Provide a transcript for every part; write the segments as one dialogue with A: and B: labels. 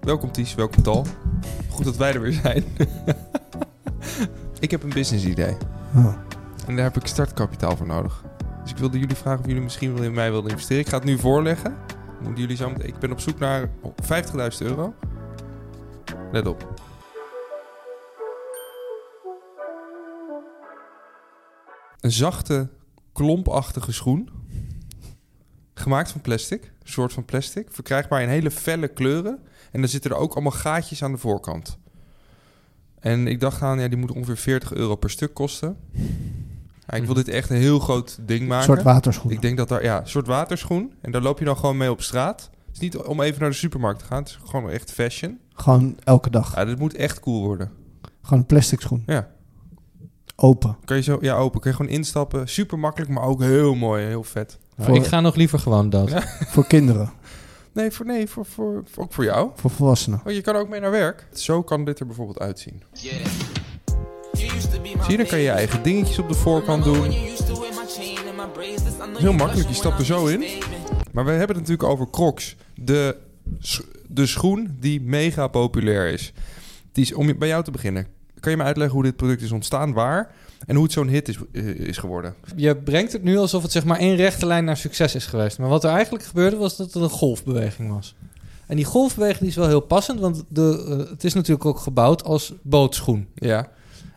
A: Welkom Ties, welkom Tal. Goed dat wij er weer zijn. ik heb een business idee.
B: Oh.
A: En daar heb ik startkapitaal voor nodig. Dus ik wilde jullie vragen of jullie misschien wel in mij wilden investeren. Ik ga het nu voorleggen. Moeten jullie zo meteen- Ik ben op zoek naar 50.000 euro. Let op. Een zachte, klompachtige schoen. Gemaakt van plastic. Een soort van plastic. Verkrijgbaar in hele felle kleuren. En dan zitten er ook allemaal gaatjes aan de voorkant. En ik dacht aan, ja, die moet ongeveer 40 euro per stuk kosten. Ja, ik wil dit echt een heel groot ding
B: Mhm. Een
A: maken.
B: soort waterschoen.
A: Ik denk dat daar, ja, een soort waterschoen. En daar loop je dan gewoon mee op straat. Het is niet om even naar de supermarkt te gaan. Het is gewoon echt fashion.
B: Gewoon elke dag.
A: Ja, dit moet echt cool worden.
B: Gewoon een plastic schoen.
A: Ja.
B: Open.
A: Kan je zo, ja, open. Kun je gewoon instappen. Super makkelijk, maar ook heel mooi, heel vet.
C: Nou,
B: Voor-
C: Ik ga nog liever gewoon dat.
A: Ja.
B: Voor kinderen.
A: Nee, voor, nee voor, voor, voor- ook voor jou.
B: Voor volwassenen.
A: Oh, je kan ook mee naar werk. Zo kan dit er bijvoorbeeld uitzien.
D: Yeah. You used to be my
A: Zie je, dan kan je je eigen dingetjes op de voorkant
D: Remember
A: doen.
D: when you used to wear my chain and my bracelets? I know
A: Heel
D: you
A: makkelijk, je
D: blushing
A: stapt er
D: when I
A: zo in.
D: make you statement.
A: Maar we hebben het natuurlijk over Crocs. De, sch- de schoen die mega populair is. Ties, om je- bij jou te beginnen. Kan je me uitleggen hoe dit product is ontstaan, waar... en hoe het zo'n hit is, eh, is geworden?
C: Je brengt het nu alsof het zeg maar één rechte lijn naar succes is geweest. Maar wat er eigenlijk gebeurde was dat het een golfbeweging was. En die golfbeweging die is wel heel passend, want de, eh, het is natuurlijk ook gebouwd als bootschoen.
A: Ja.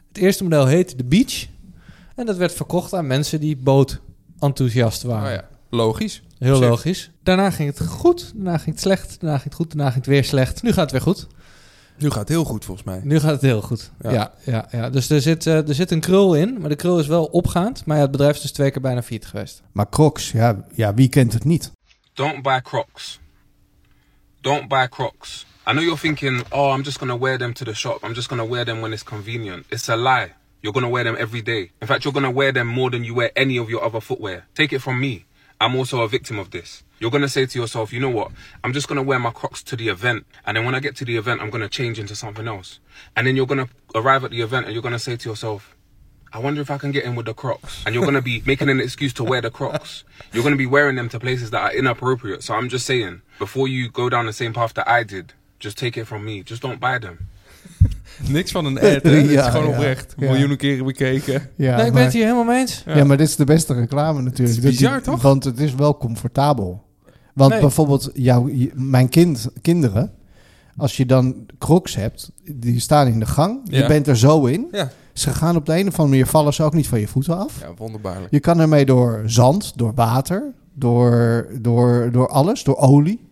C: Het eerste model heette de Beach. En dat werd verkocht aan mensen die bootenthousiast waren.
A: Nou ja, logisch.
C: Heel
A: Zeker.
C: logisch. Daarna ging het goed, daarna ging het slecht, daarna ging het goed, daarna ging het weer slecht. Nu gaat het weer goed.
A: Nu gaat het heel goed volgens mij.
C: Nu gaat het heel goed.
A: Ja.
C: Ja, ja, ja. Dus er zit, eh, er zit een krul in, maar de krul is wel opgaand. Maar ja, het bedrijf is dus twee keer bijna failliet geweest.
B: Maar Crocs, ja, ja, wie kent het niet?
E: Don't buy Crocs. Don't buy Crocs. I know you're thinking, oh, I'm just going to wear them to the shop. I'm just going to wear them when it's convenient. It's a lie. You're going to wear them every day. In fact, you're going to wear them more than you wear any of your other footwear. Take it from me. I'm also a victim of this. You're going to say to yourself, you know what? I'm just going to wear my Crocs to the event. And then when I get to the event, I'm going to change into something else. And then you're going to arrive at the event and you're going to say to yourself, I wonder if I can get in with the Crocs. And you're going to be making an excuse to wear the Crocs. You're going to be wearing them to places that are inappropriate. So I'm just saying, before you go down the same path that I did, just take it from me. Just don't buy them.
A: Niks van een ad, hè? Het is
B: Ja,
A: gewoon
B: ja,
A: oprecht.
B: ja.
A: Miljoenen keren bekeken.
B: Ja,
C: nee, ik ben het hier helemaal mee eens.
B: ja. maar dit is de beste reclame natuurlijk.
A: Het is bizar,
B: Dat
A: toch?
B: Want het is wel comfortabel. Want
C: Nee.
B: bijvoorbeeld jouw, je- mijn kind, kinderen, als je dan Crocs hebt, die staan in de gang.
A: Ja.
B: Je bent er zo in.
A: Ja.
B: Ze gaan op de een of andere manier vallen ze ook niet van je voeten af.
A: Ja, wonderbaarlijk.
B: Je kan ermee door zand, door water, door, door, door alles, door olie.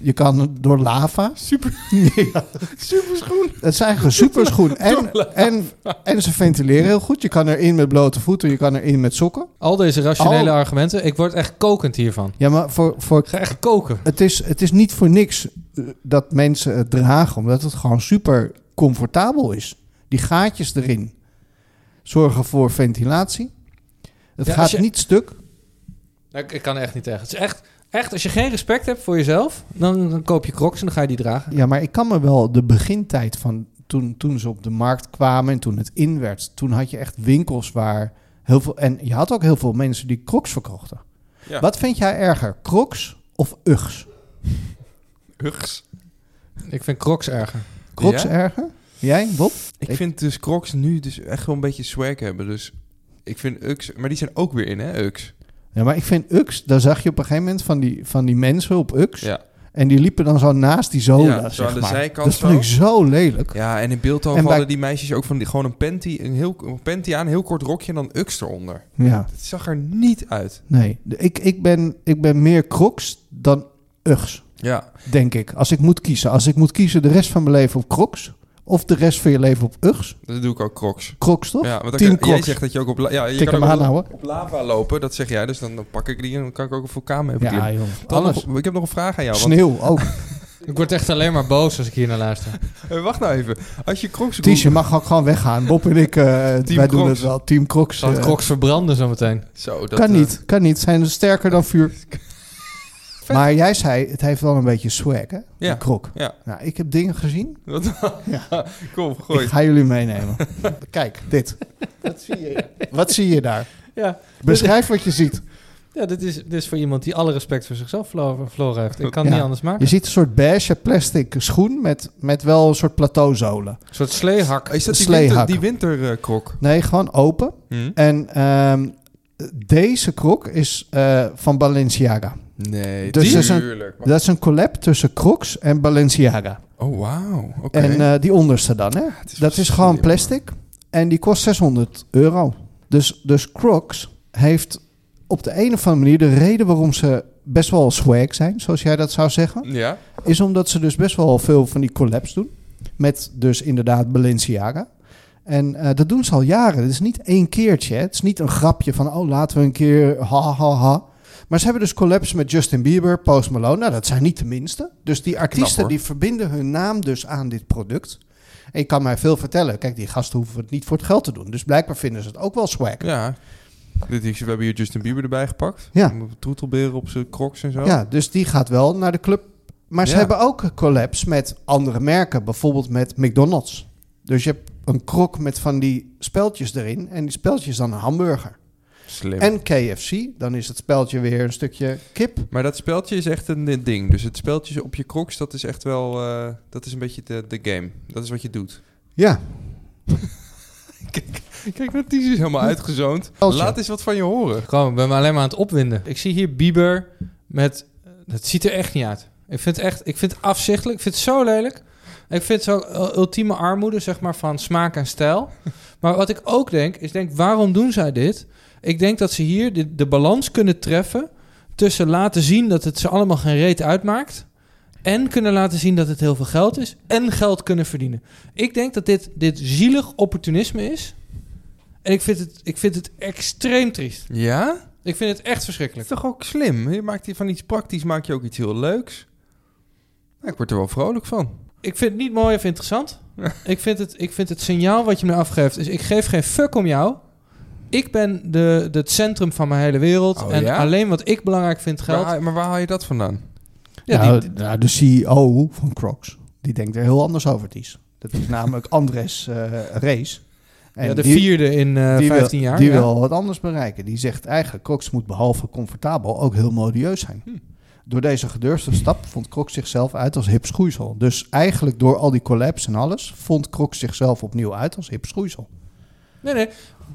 B: Je kan door lava. Super.
A: Superschoen.
B: Het zijn eigen superschoen. En, en, en ze ventileren heel goed. Je kan erin met blote voeten, je kan erin met sokken.
C: Al deze rationele
B: Al-
C: argumenten, ik word echt kokend hiervan.
B: Ja, maar voor, voor,
C: Ik ga echt koken.
B: het, is, het is niet voor niks eh, dat mensen het dragen, omdat het gewoon super comfortabel is. Die gaatjes erin zorgen voor ventilatie. Het
C: Ja, als
B: gaat
C: je-
B: niet stuk.
C: Nou, Ik, ik kan er echt niet tegen. Het is echt, echt, als je geen respect hebt voor jezelf, dan, dan koop je crocs en dan ga je die dragen.
B: Ja, maar ik kan me wel de begintijd van toen, toen ze op de markt kwamen en toen het in werd. Toen had je echt winkels waar heel veel... En je had ook heel veel mensen die crocs verkochten.
A: Ja.
B: Wat vind jij erger, crocs of Uggs?
A: Hugs.
C: Ik vind crocs erger.
B: Crocs
A: Ja?
B: erger? Jij, Bob?
A: Ik vind dus Crocs nu dus echt wel een beetje swag hebben. Dus ik vind Ux... Maar die zijn ook weer in, hè, Ux?
B: Ja, maar ik vind Uggs, daar zag je op een gegeven moment van die, van die mensen op Uggs.
A: Ja.
B: En die liepen dan zo naast die zolen,
A: Ja, zo
B: zeg
A: aan de
B: maar.
A: zijkant
B: Dat vond
A: zo.
B: ik zo lelijk.
A: Ja, en in Beeldhoven
B: En bij-
A: hadden die meisjes ook van die, gewoon een panty, een heel een panty aan, een heel kort rokje en dan Ux eronder.
B: Ja.
A: Het zag er niet uit.
B: Nee, de- ik, ik, ben, ik ben meer crocs dan Uggs.
A: Ja.
B: denk ik. Als ik moet kiezen. Als ik moet kiezen de rest van mijn leven op Crocs. Of de rest van je leven op Uggs.
A: Dat doe ik ook Crocs.
B: Crocs toch?
A: Ja, want dan
B: Team
A: kan- jij
B: Crocs.
A: zegt dat je ook op, la- ja, je
B: Tik
A: kan
B: hem nou,
A: ook op,
B: aanhouden.
A: op lava lopen, dat zeg jij. Dus dan, dan pak ik die en dan kan ik ook een vulkaan mee bekleden.
B: Ja, joh.
A: Dan
B: Alles.
A: nog- ik heb nog een vraag aan jou. want-
B: Sneeuw Oh, ook.
C: Ik word echt alleen maar boos als ik hier naar luister.
A: Hey, wacht nou even. Als je crocs
B: Ties, je
A: googelt-
B: mag ook gewoon weggaan. Bob en ik, eh, wij doen
A: Crocs.
B: het wel. Team Crocs.
C: Zal het
B: eh,
C: crocs verbranden zometeen?
A: Zo, dat,
B: kan
A: eh,
B: niet, kan niet. Zijn ze sterker dan vuur. maar jij zei, het heeft wel een beetje swag, hè?
A: Ja.
B: Die Croc.
A: Ja.
B: Nou, ik heb dingen gezien.
A: Wat-
B: Ja.
A: Kom, gooi.
B: Ik ga jullie meenemen. Kijk, dit. Wat zie je, Wat zie je daar?
C: Ja.
B: Beschrijf wat je ziet.
C: Ja, dit is, dit is voor iemand die alle respect voor zichzelf verlo- verloren heeft. Ik kan het
B: Ja.
C: niet anders
B: Je
C: maken.
B: ziet een soort beige plastic schoen met, met wel een soort plateauzolen.
C: Een soort sleehak.
A: Eh, Is dat die,
B: Slee
A: winter, eh, Hm?
B: hakken.
A: die winterkrok?
B: Nee, gewoon open. En ehm, deze krok is eh, van Balenciaga.
A: Nee,
B: Dus
A: die-
B: is een-
A: tuurlijk.
B: Dat is een collab tussen Crocs en Balenciaga.
A: Oh, wauw. Oké.
B: En eh, die onderste dan, hè?
A: het is
B: Dat
A: wel
B: is gewoon
A: slim,
B: plastic. En die kost 600 euro. Dus, dus Crocs heeft op de een of andere manier de reden waarom ze best wel swag zijn, zoals jij dat zou zeggen.
A: hoor. Ja?
B: is omdat ze dus best wel veel van die collabs doen. Met dus inderdaad Balenciaga. En eh, dat doen ze al jaren. Het is niet één keertje. hè. Het is niet een grapje van, oh, laten we een keer ha, ha, ha. Maar ze hebben dus collabs met Justin Bieber, Post Malone. Nou, dat zijn niet de minste. Dus die artiesten
A: hoor.
B: die verbinden hun naam dus aan dit product. En je kan mij veel vertellen. Kijk, die gasten hoeven het niet voor het geld te doen. Dus blijkbaar vinden ze het ook wel swag.
A: Ja. Dit, is- we hebben hier Justin Bieber erbij gepakt.
B: Ja.
A: Troetelberen op zijn crocs en zo.
B: Ja, dus die gaat wel naar de club. Maar ze
A: Ja.
B: hebben ook collabs met andere merken. Bijvoorbeeld met McDonald's. Dus je hebt een krok met van die speldjes erin. En die speldjes dan een hamburger.
A: Slim.
B: En KFC, dan is het speldje weer een stukje kip.
A: Maar dat speldje is echt een eh, ding. Dus het speldje op je crocs, dat is echt wel... eh, dat is een beetje de, de game. Dat is wat je doet.
B: Ja,
A: Kijk, dat is helemaal uitgezoond.
B: Speldje.
A: Laat eens wat van je horen.
C: Gewoon, ik ben me alleen maar aan het opwinden. Ik zie hier Bieber met... Dat ziet er echt niet uit. Ik vind het echt... Ik vind het afzichtelijk. Ik vind het zo lelijk. Ik vind het zo u- ultieme armoede, zeg maar, van smaak en stijl. Maar wat ik ook denk, is denk, waarom doen zij dit? Ik denk dat ze hier de, de balans kunnen treffen... tussen laten zien dat het ze allemaal geen reet uitmaakt... en kunnen laten zien dat het heel veel geld is... en geld kunnen verdienen. Ik denk dat dit, dit zielig opportunisme is... En ik vind, het, ik vind het extreem triest.
A: Ja?
C: Ik vind het echt
A: Dat is
C: verschrikkelijk.
A: toch ook slim? Je maakt hier van iets praktisch maak je ook iets heel leuks. Nou, ik word er wel vrolijk van.
C: Ik vind het niet mooi of interessant. ik, vind het, ik vind het signaal wat je me afgeeft is... ik geef geen fuck om jou. Ik ben de, de, het centrum van mijn hele wereld.
A: Oh,
C: en
A: ja?
C: alleen wat ik belangrijk vind
A: Waar
C: geldt.
A: haal- maar waar haal je dat vandaan?
C: Ja,
B: nou,
C: die-
B: nou, de CEO van Crocs, die denkt er heel anders over, Ties. Dat is namelijk Andres eh Rees. En
C: ja, de
B: die-
C: vierde in eh
B: die wil-
C: 15 jaar.
B: Die
C: ja.
B: wil wat anders bereiken. Die zegt eigenlijk, Crocs moet behalve comfortabel ook heel modieus zijn.
C: Hm.
B: Door deze gedurfde stap vond Crocs zichzelf uit als hip schoeisel. Dus eigenlijk door al die collabs en alles vond Crocs zichzelf opnieuw uit als hip schoeisel.
C: Nee, nee.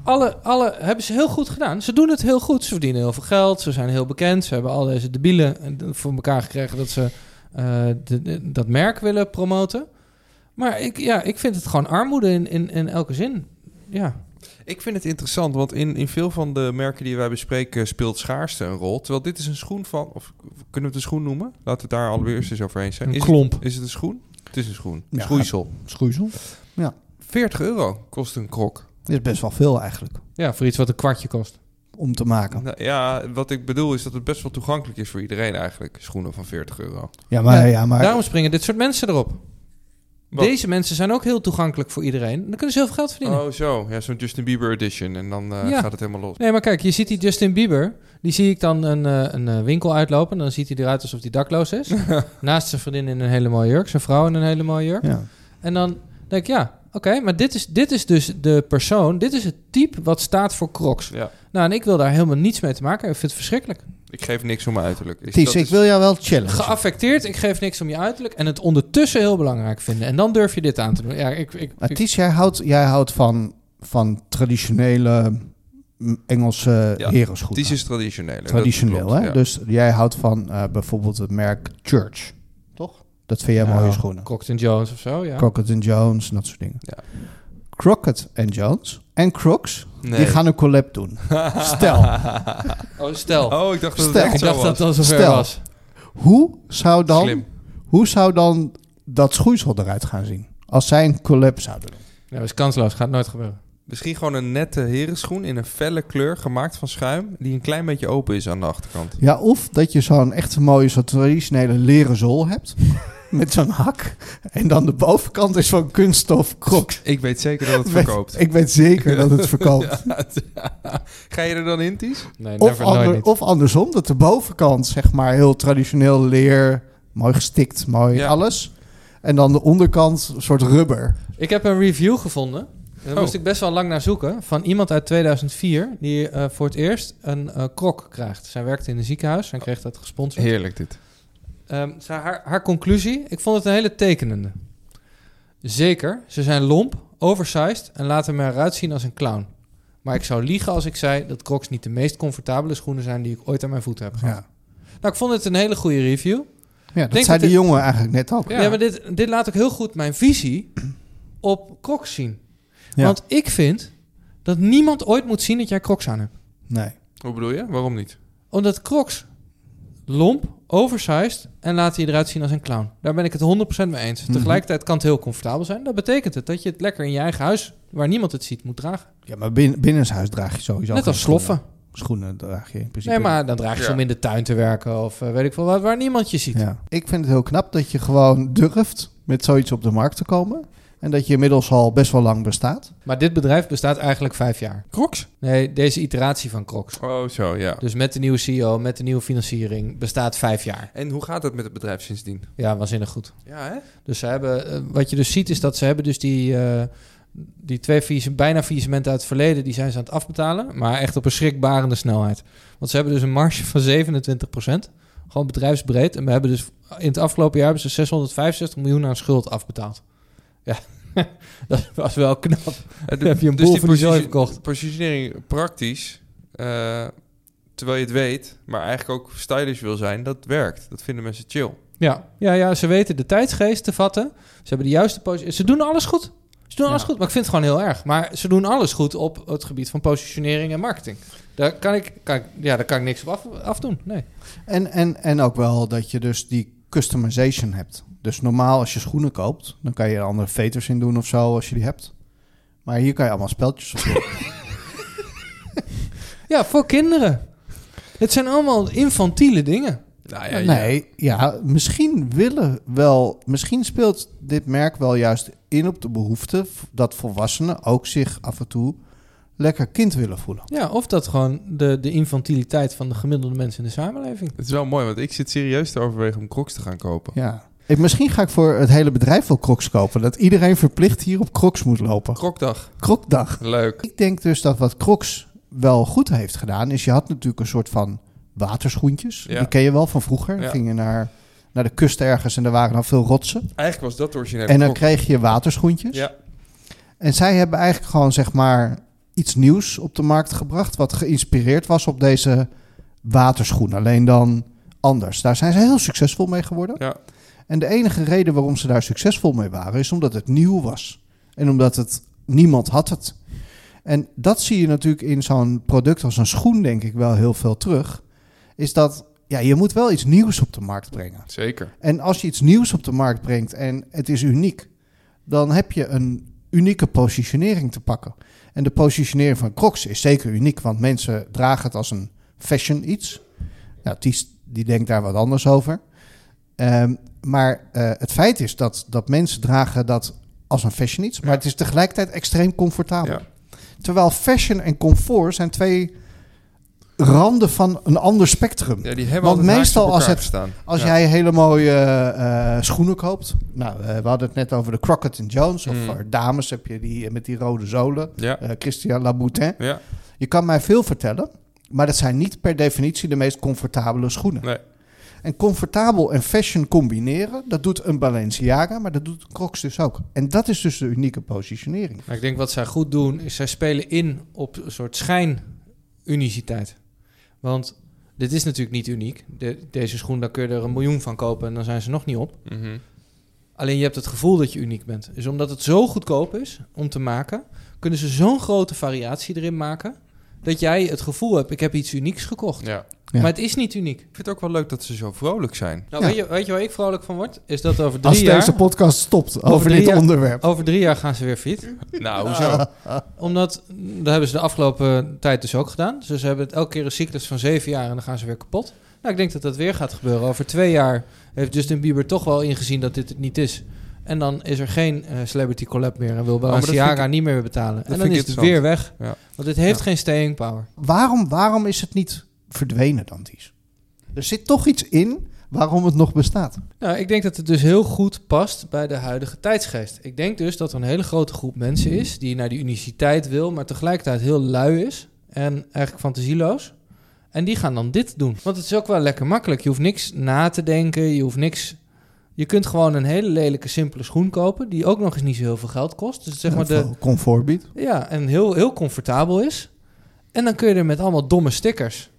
C: Alle, alle hebben ze heel goed gedaan. Ze doen het heel goed. Ze verdienen heel veel geld. Ze zijn heel bekend. Ze hebben al deze debielen eh, voor elkaar gekregen dat ze eh, de- de- dat merk willen promoten. Maar ik, ja, ik vind het gewoon armoede in, in, in elke zin. Ja.
A: Ik vind het interessant, want in, in veel van de merken die wij bespreken speelt schaarste een rol. Terwijl dit is een schoen van, of kunnen we het een schoen noemen? Laten we het daar alweer eerst eens over eens zijn.
C: Een
A: Is
C: klomp.
A: Het, is het een schoen? Het is een schoen.
B: Ja.
A: Schoeisel.
B: Schoeisel?
A: 40 euro kost een krok.
B: Dat is best wel veel eigenlijk
C: ja, voor iets wat een kwartje kost.
B: om te maken.
A: Nou, ja, wat ik bedoel is dat het best wel toegankelijk is voor iedereen eigenlijk. Schoenen van 40 euro.
B: Ja, maar,
C: Ja,
B: ja, maar
C: Daarom springen dit soort mensen erop.
A: Wat?
C: Deze mensen zijn ook heel toegankelijk voor iedereen. Dan kunnen ze heel veel geld verdienen.
A: Oh zo, ja, zo'n Justin Bieber edition. En dan eh,
C: Ja.
A: gaat het helemaal los.
C: Nee, maar kijk, je ziet die Justin Bieber. Die zie ik dan een, eh, een eh, winkel uitlopen. Dan ziet hij eruit alsof hij dakloos is. Naast zijn vriendin in een hele mooie jurk. Zijn vrouw in een hele mooie jurk.
B: ja.
C: En dan denk ik, ja, oké. maar dit is, dit is dus de persoon. Dit is het type wat staat voor Crocs.
A: Ja.
C: Nou, en ik wil daar helemaal niets mee te maken. hebben. Ik vind het verschrikkelijk.
A: Ik geef niks om mijn uiterlijk. Is
B: Ties,
A: dat
B: ik
A: is-
B: wil jou wel challenge.
C: Geaffecteerd, ik geef niks om je uiterlijk. En het ondertussen heel belangrijk vinden. En dan durf je dit aan te doen. Ja, ik, ik,
B: Maar
C: ik-
B: Eh, Ties, jij houdt, jij houdt van, van traditionele mm, Engelse
A: Ja,
B: herenschoenen.
A: Ties is traditioneel.
B: Traditioneel, hè?
A: Dus
B: Dus jij houdt van eh, bijvoorbeeld het merk Church, toch? Dat vind jij
C: Nou,
B: mooie schoenen.
C: Crockett and Jones of zo, ja.
B: Crockett en Jones en dat soort dingen.
A: Ja.
B: Crockett en Jones en Crocs,
A: nee.
B: die gaan een collab doen. Stel,
C: Oh, stel.
A: Oh, ik dacht dat het
B: Stel.
A: echt
C: ik
A: zo
C: dacht
A: was.
C: dat dat zover
B: Stel.
C: was.
B: hoe zou dan,
A: Slim.
B: hoe zou dan dat schoeisel eruit gaan zien? Als zij een collab zouden doen.
C: Ja, dat is kansloos. Gaat nooit gebeuren.
A: Misschien gewoon een nette herenschoen in een felle kleur, gemaakt van schuim, die een klein beetje open is aan de achterkant.
B: Ja, of dat je zo'n echt mooie, zo'n traditionele leren zool hebt. met zo'n hak. En dan de bovenkant is van kunststof crocs.
A: Ik weet zeker dat het verkoopt.
B: Ik weet zeker dat het verkoopt.
A: Ga je er dan in, Ties?
C: Nee,
B: Of,
C: never, nooit
B: ander-
C: niet.
B: of andersom, dat de bovenkant zeg maar heel traditioneel leer, mooi gestikt, mooi
A: Ja.
B: alles. En dan de onderkant een soort rubber.
C: Ik heb een review gevonden Daar
A: Oh.
C: moest ik best wel lang naar zoeken. Van iemand uit 2004 die eh, voor het eerst een eh, krok krijgt. Zij werkte in een ziekenhuis en kreeg dat gesponsord.
A: Heerlijk dit.
C: Ehm, zij- haar, haar conclusie, ik vond het een hele tekenende. Zeker, ze zijn lomp, oversized en laten me eruit zien als een clown. Maar ik zou liegen als ik zei dat crocs niet de meest comfortabele schoenen zijn die ik ooit aan mijn voeten heb gehad.
B: Ja.
C: Nou, ik vond het een hele goede review.
B: Ja, dat
C: Denk
B: zei
C: dat
B: die jongen eigenlijk net ook.
C: Ja, maar dit, dit laat ook heel goed mijn visie op crocs zien.
B: Ja.
C: Want ik vind dat niemand ooit moet zien dat jij crocs aan hebt.
B: Nee.
A: Hoe bedoel je? Waarom niet?
C: Omdat crocs lomp, oversized en laat je eruit zien als een clown. Daar ben ik het 100% mee eens.
B: Mhm.
C: Tegelijkertijd kan het heel comfortabel zijn. Dat betekent het dat je het lekker in je eigen huis, waar niemand het ziet, moet dragen.
B: Ja, maar binnen, binnenshuis draag je sowieso
C: Net
B: geen
C: als sloffen.
B: Schoenen, schoenen draag je in principe.
C: Nee, maar dan draag je
A: Ja.
C: ze om in de tuin te werken of eh, weet ik veel wat, waar niemand je ziet.
B: Ja. Ik vind het heel knap dat je gewoon durft met zoiets op de markt te komen. En dat je inmiddels al best wel lang bestaat.
C: Maar dit bedrijf bestaat eigenlijk vijf jaar.
A: Crocs?
C: Nee, deze iteratie van Crocs.
A: Oh, zo, ja.
C: Dus met de nieuwe CEO, met de nieuwe financiering, bestaat vijf jaar.
A: En hoe gaat het met het bedrijf sindsdien?
C: Ja, waanzinnig goed.
A: Ja, hè?
C: Dus ze hebben, eh, wat je dus ziet, is dat ze hebben dus die, eh, die twee faillis- bijna faillissementen uit het verleden, die zijn ze aan het afbetalen, maar echt op een schrikbarende snelheid. Want ze hebben dus een marge van 27%, gewoon bedrijfsbreed. En we hebben dus in het afgelopen jaar hebben ze 665 miljoen aan schuld afbetaald. Ja, dat was wel knap. Dan heb je een boel van die zooi verkocht.
A: dus positionering praktisch, eh, terwijl je het weet, maar eigenlijk ook stylish wil zijn, dat werkt. Dat vinden mensen chill.
C: Ja, ja, ja, ze weten de tijdsgeest te vatten. Ze hebben de juiste positie. Ze doen alles goed. Ze doen
B: Ja.
C: alles goed, maar ik vind het gewoon heel erg. Maar ze doen alles goed op het gebied van positionering en marketing. Daar kan ik, kan ik, ja, daar kan ik niks op af, afdoen. Nee.
B: En, en, en ook wel dat je dus die customization hebt. Dus normaal als je schoenen koopt, dan kan je er andere veters in doen of zo als je die hebt. Maar hier kan je allemaal speltjes op doen.
C: Ja, voor kinderen. Het zijn allemaal infantiele dingen.
A: Nou,
B: Maar nee, ja, misschien willen wel, misschien speelt dit merk wel juist in op de behoefte v- dat volwassenen ook zich af en toe lekker kind willen voelen.
C: Ja, of dat gewoon de, de infantiliteit van de gemiddelde mensen in de samenleving.
A: Het is wel mooi, want ik zit serieus te overwegen om crocs te gaan kopen.
B: Ja. Ik, misschien ga ik voor het hele bedrijf wel crocs kopen. Dat iedereen verplicht hier op crocs moet lopen.
A: Krokdag.
B: Krokdag.
A: Leuk.
B: Ik denk dus dat wat Crocs wel goed heeft gedaan, is je had natuurlijk een soort van waterschoentjes.
A: Ja.
B: Die ken je wel van vroeger.
A: Ja.
B: Dan ging je naar, naar de kust ergens en er waren dan veel rotsen.
A: Eigenlijk was dat de originele
B: en dan
A: krok.
B: kreeg je waterschoentjes.
A: Ja,
B: En zij hebben eigenlijk gewoon zeg maar iets nieuws op de markt gebracht, wat geïnspireerd was op deze waterschoen. Alleen dan anders. Daar zijn ze heel succesvol mee geworden.
A: ja.
B: En de enige reden waarom ze daar succesvol mee waren, is omdat het nieuw was. En omdat het niemand had het. En dat zie je natuurlijk in zo'n product als een schoen, denk ik wel heel veel terug. Is dat ja, je moet wel iets nieuws op de markt brengen.
A: zeker.
B: En als je iets nieuws op de markt brengt en het is uniek, dan heb je een unieke positionering te pakken. En de positionering van Crocs is zeker uniek, want mensen dragen het als een fashion iets. Nou, die, die denkt daar wat anders over. Ehm, maar eh, het feit is dat, dat mensen dragen dat als een fashion iets, maar het is tegelijkertijd extreem comfortabel.
A: Ja.
B: Terwijl fashion en comfort zijn twee randen van een ander spectrum.
A: Ja, die hebben
B: Want
A: altijd haaks
B: meestal
A: op
B: als
A: elkaar
B: het-
A: staan.
B: Als
A: Ja.
B: jij hele mooie eh, schoenen koopt. Nou, eh, we hadden het net over de Crockett en Jones. Of
A: Mm.
B: eh, dames heb je die eh, met die rode zolen.
A: Ja,
B: Eh, Christian Laboutin.
A: ja.
B: Je kan mij veel vertellen. Maar dat zijn niet per definitie de meest comfortabele schoenen.
A: Nee.
B: En comfortabel en fashion combineren, dat doet een Balenciaga, maar dat doet Crocs dus ook. En dat is dus de unieke positionering.
C: Maar ik denk wat zij goed doen, is zij spelen in op een soort schijn-uniciteit. Want dit is natuurlijk niet uniek. De- deze schoen, daar kun je er een miljoen van kopen en dan zijn ze nog niet op.
A: Mhm.
C: Alleen je hebt het gevoel dat je uniek bent. Dus omdat het zo goedkoop is om te maken, kunnen ze zo'n grote variatie erin maken. Dat jij het gevoel hebt, ik heb iets unieks gekocht.
A: ja.
B: Ja.
C: Maar het is niet uniek.
A: Ik vind het ook wel leuk dat ze zo vrolijk zijn.
C: Nou,
B: Ja.
C: weet, je, weet je waar ik vrolijk van word? Is dat over
B: Als
C: drie jaar...
B: deze podcast stopt
C: Over
B: over
C: drie
B: dit
C: jaar-
B: onderwerp.
C: Over drie jaar gaan ze weer fiet.
A: Nou, hoezo?
C: Omdat, dat hebben ze de afgelopen tijd dus ook gedaan. Dus ze hebben het elke keer een cyclus van zeven jaar en dan gaan ze weer kapot. Nou, ik denk dat dat weer gaat gebeuren. Over twee jaar heeft Justin Bieber toch wel ingezien dat dit het niet is. En dan is er geen eh, celebrity collab meer en wil
A: Oh, maar dat
C: Balenciaga
A: vind
C: niet meer betalen. En dan
A: vind ik
C: is het weer
A: interessant.
C: weg.
A: Ja.
C: Want dit heeft
A: Ja.
C: geen staying power.
B: Waarom, waarom is het niet verdwenen dan, Ties? Er zit toch iets in waarom het nog bestaat.
C: Nou, ik denk dat het dus heel goed past bij de huidige tijdsgeest. Ik denk dus dat er een hele grote groep mensen is die naar die universiteit wil, maar tegelijkertijd heel lui is en eigenlijk fantasieloos. En die gaan dan dit doen. Want het is ook wel lekker makkelijk. Je hoeft niks na te denken, je hoeft niks. Je kunt gewoon een hele lelijke, simpele schoen kopen, die ook nog eens niet zo heel veel geld kost. Dus zeg maar de,
B: Comfort biedt.
C: ja, en heel, heel comfortabel is. En dan kun je er met allemaal domme stickers...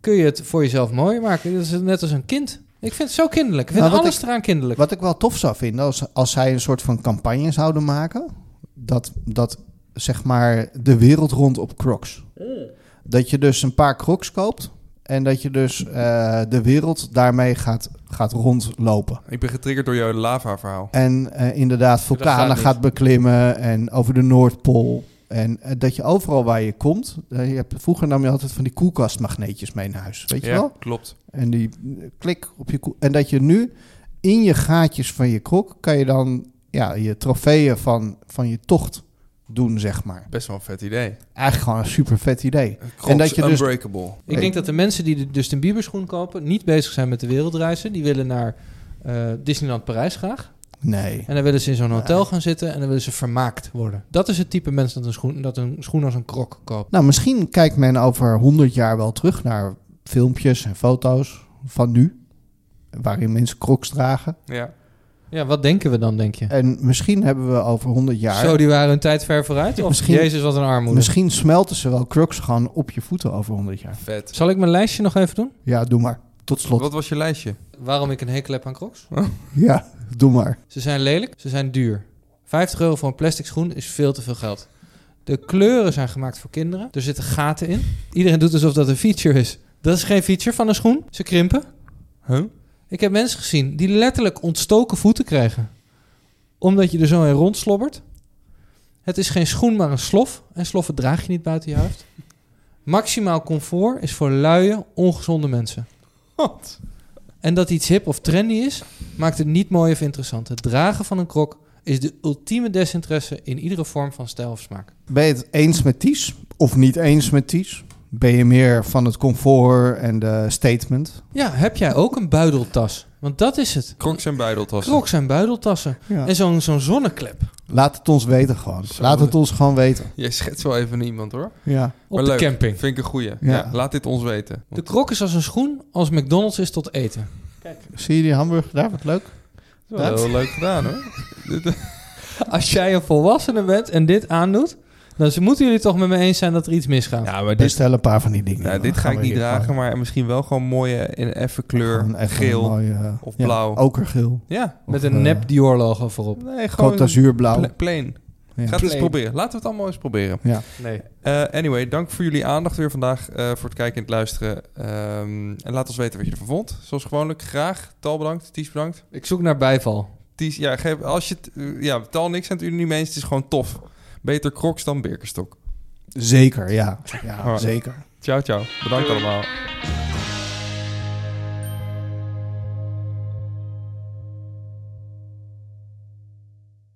C: kun je het voor jezelf mooi maken. Dat is net als een kind. Ik vind het zo kinderlijk. Ik vind
B: Nou, wat
C: alles eraan kinderlijk.
B: Wat ik wel tof zou vinden, als, als zij een soort van campagne zouden maken, dat, dat zeg maar de wereld rond op crocs.
C: Mm.
B: Dat je dus een paar crocs koopt en dat je dus eh, de wereld daarmee gaat, gaat rondlopen.
A: Ik ben getriggerd door jouw lava-verhaal.
B: En eh, inderdaad vulkanen
C: gaat niet.
B: gaat beklimmen en over de Noordpool. En eh, dat je overal waar je komt, eh, je hebt, vroeger nam je altijd van die koelkastmagneetjes mee naar huis, weet je wel?
A: klopt.
B: En die eh, klik op je koe- En dat je nu in je gaatjes van je krok kan je dan ja, je trofeeën van, van je tocht doen, zeg maar.
A: Best wel een vet idee.
B: Eigenlijk gewoon een super vet idee.
A: Crocs
B: En dat je dus-
A: unbreakable.
C: Ik denk dat de mensen die de Justin Bieber schoen kopen... niet bezig zijn met de wereldreizen. Die willen naar eh, Disneyland Parijs graag.
B: Nee.
C: En dan willen ze in zo'n hotel
B: Nee.
C: gaan zitten... en dan willen ze vermaakt worden. Dat is het type mensen dat een schoen, dat een schoen als een krok koopt.
B: Nou, misschien kijkt men over 100 jaar wel terug naar filmpjes en foto's van nu. Waarin mensen crocs dragen.
A: Ja.
C: Ja, wat denken we dan, denk je?
B: En misschien hebben we over 100 jaar...
C: Zo, die waren hun tijd ver vooruit? Of
B: Misschien-
C: Jezus, wat een armoede.
B: misschien smelten ze wel crocs gewoon op je voeten over 100 jaar.
A: Vet.
C: Zal ik mijn lijstje nog even doen?
B: Ja, doe maar. Tot slot.
A: Wat was je lijstje?
C: Waarom ik een hekel heb aan crocs?
B: Ja, doe maar.
C: Ze zijn lelijk, ze zijn duur. 50 euro voor een plastic schoen is veel te veel geld. De kleuren zijn gemaakt voor kinderen. Er zitten gaten in. Iedereen doet alsof dat een feature is. Dat is geen feature van een schoen. Ze krimpen.
A: Huh?
C: Ik heb mensen gezien die letterlijk ontstoken voeten krijgen. Omdat je er zo in rondslobbert. Het is geen schoen, maar een slof. En sloffen draag je niet buiten je hoofd. Maximaal comfort is voor luie, ongezonde mensen.
A: Wat?
C: En dat iets hip of trendy is, maakt het niet mooi of interessant. Het dragen van een krok is de ultieme desinteresse in iedere vorm van stijl of smaak.
B: Ben je het eens met Ties of niet eens met Ties? Ben je meer van het comfort en de statement?
C: Ja, heb jij ook een buideltas? Want dat is het.
A: Crocs en buideltassen.
C: Kroks zijn buideltassen. En zo'n zo'n zonneklep.
B: Laat het ons weten gewoon.
A: Zo.
B: Laat het ons gewoon weten.
A: Jij schetst wel even iemand hoor.
B: Ja.
C: Op
A: Maar
C: de
A: leuk.
C: camping.
A: Vind ik een goeie. Ja.
B: Ja.
A: laat dit ons weten.
C: De krok is als een schoen, als McDonald's is tot eten.
B: Zie je die hamburger daar? Wat leuk.
A: Dat is wel heel leuk gedaan hoor.
C: Als jij een volwassene bent en dit aandoet, dan z- moeten jullie toch met me eens zijn dat er iets misgaat.
A: Ja, maar dit,
B: Bestel een paar van die dingen.
A: nou,
B: Dan
A: dit ga
B: gaan
A: ik
B: we
A: niet
B: hier
A: dragen,
B: gewoon-
A: maar misschien wel gewoon mooie in een effen
B: gewoon
A: kleur.
B: echt een
A: Geel.
B: mooie, eh,
A: of
B: ja,
A: blauw.
B: Okergeel.
A: Ja.
C: Met
B: Of,
C: een
B: eh,
C: nep Dior logo voorop.
A: Nee, gewoon
B: Côte d'Azur blauw.
A: pla- plain.
B: Ja.
A: Ga het eens
C: Plain.
A: proberen. Laten we het allemaal eens proberen.
C: Nee.
A: Eh, anyway, dank voor jullie aandacht weer vandaag. eh, voor het kijken en het luisteren. Ehm, en laat ons weten wat je ervan vond. Zoals gewoonlijk, graag. Tal bedankt. Ties bedankt.
C: Ik zoek naar bijval.
A: Ties, ja, geef, als je het, eh, ja, Tal niks aan het jullie niet mee eens. Het is gewoon tof. Beter crocs dan Birkenstock.
B: Zeker, ja. ja
A: Alright.
B: zeker.
A: Ciao, ciao. Bedankt allemaal.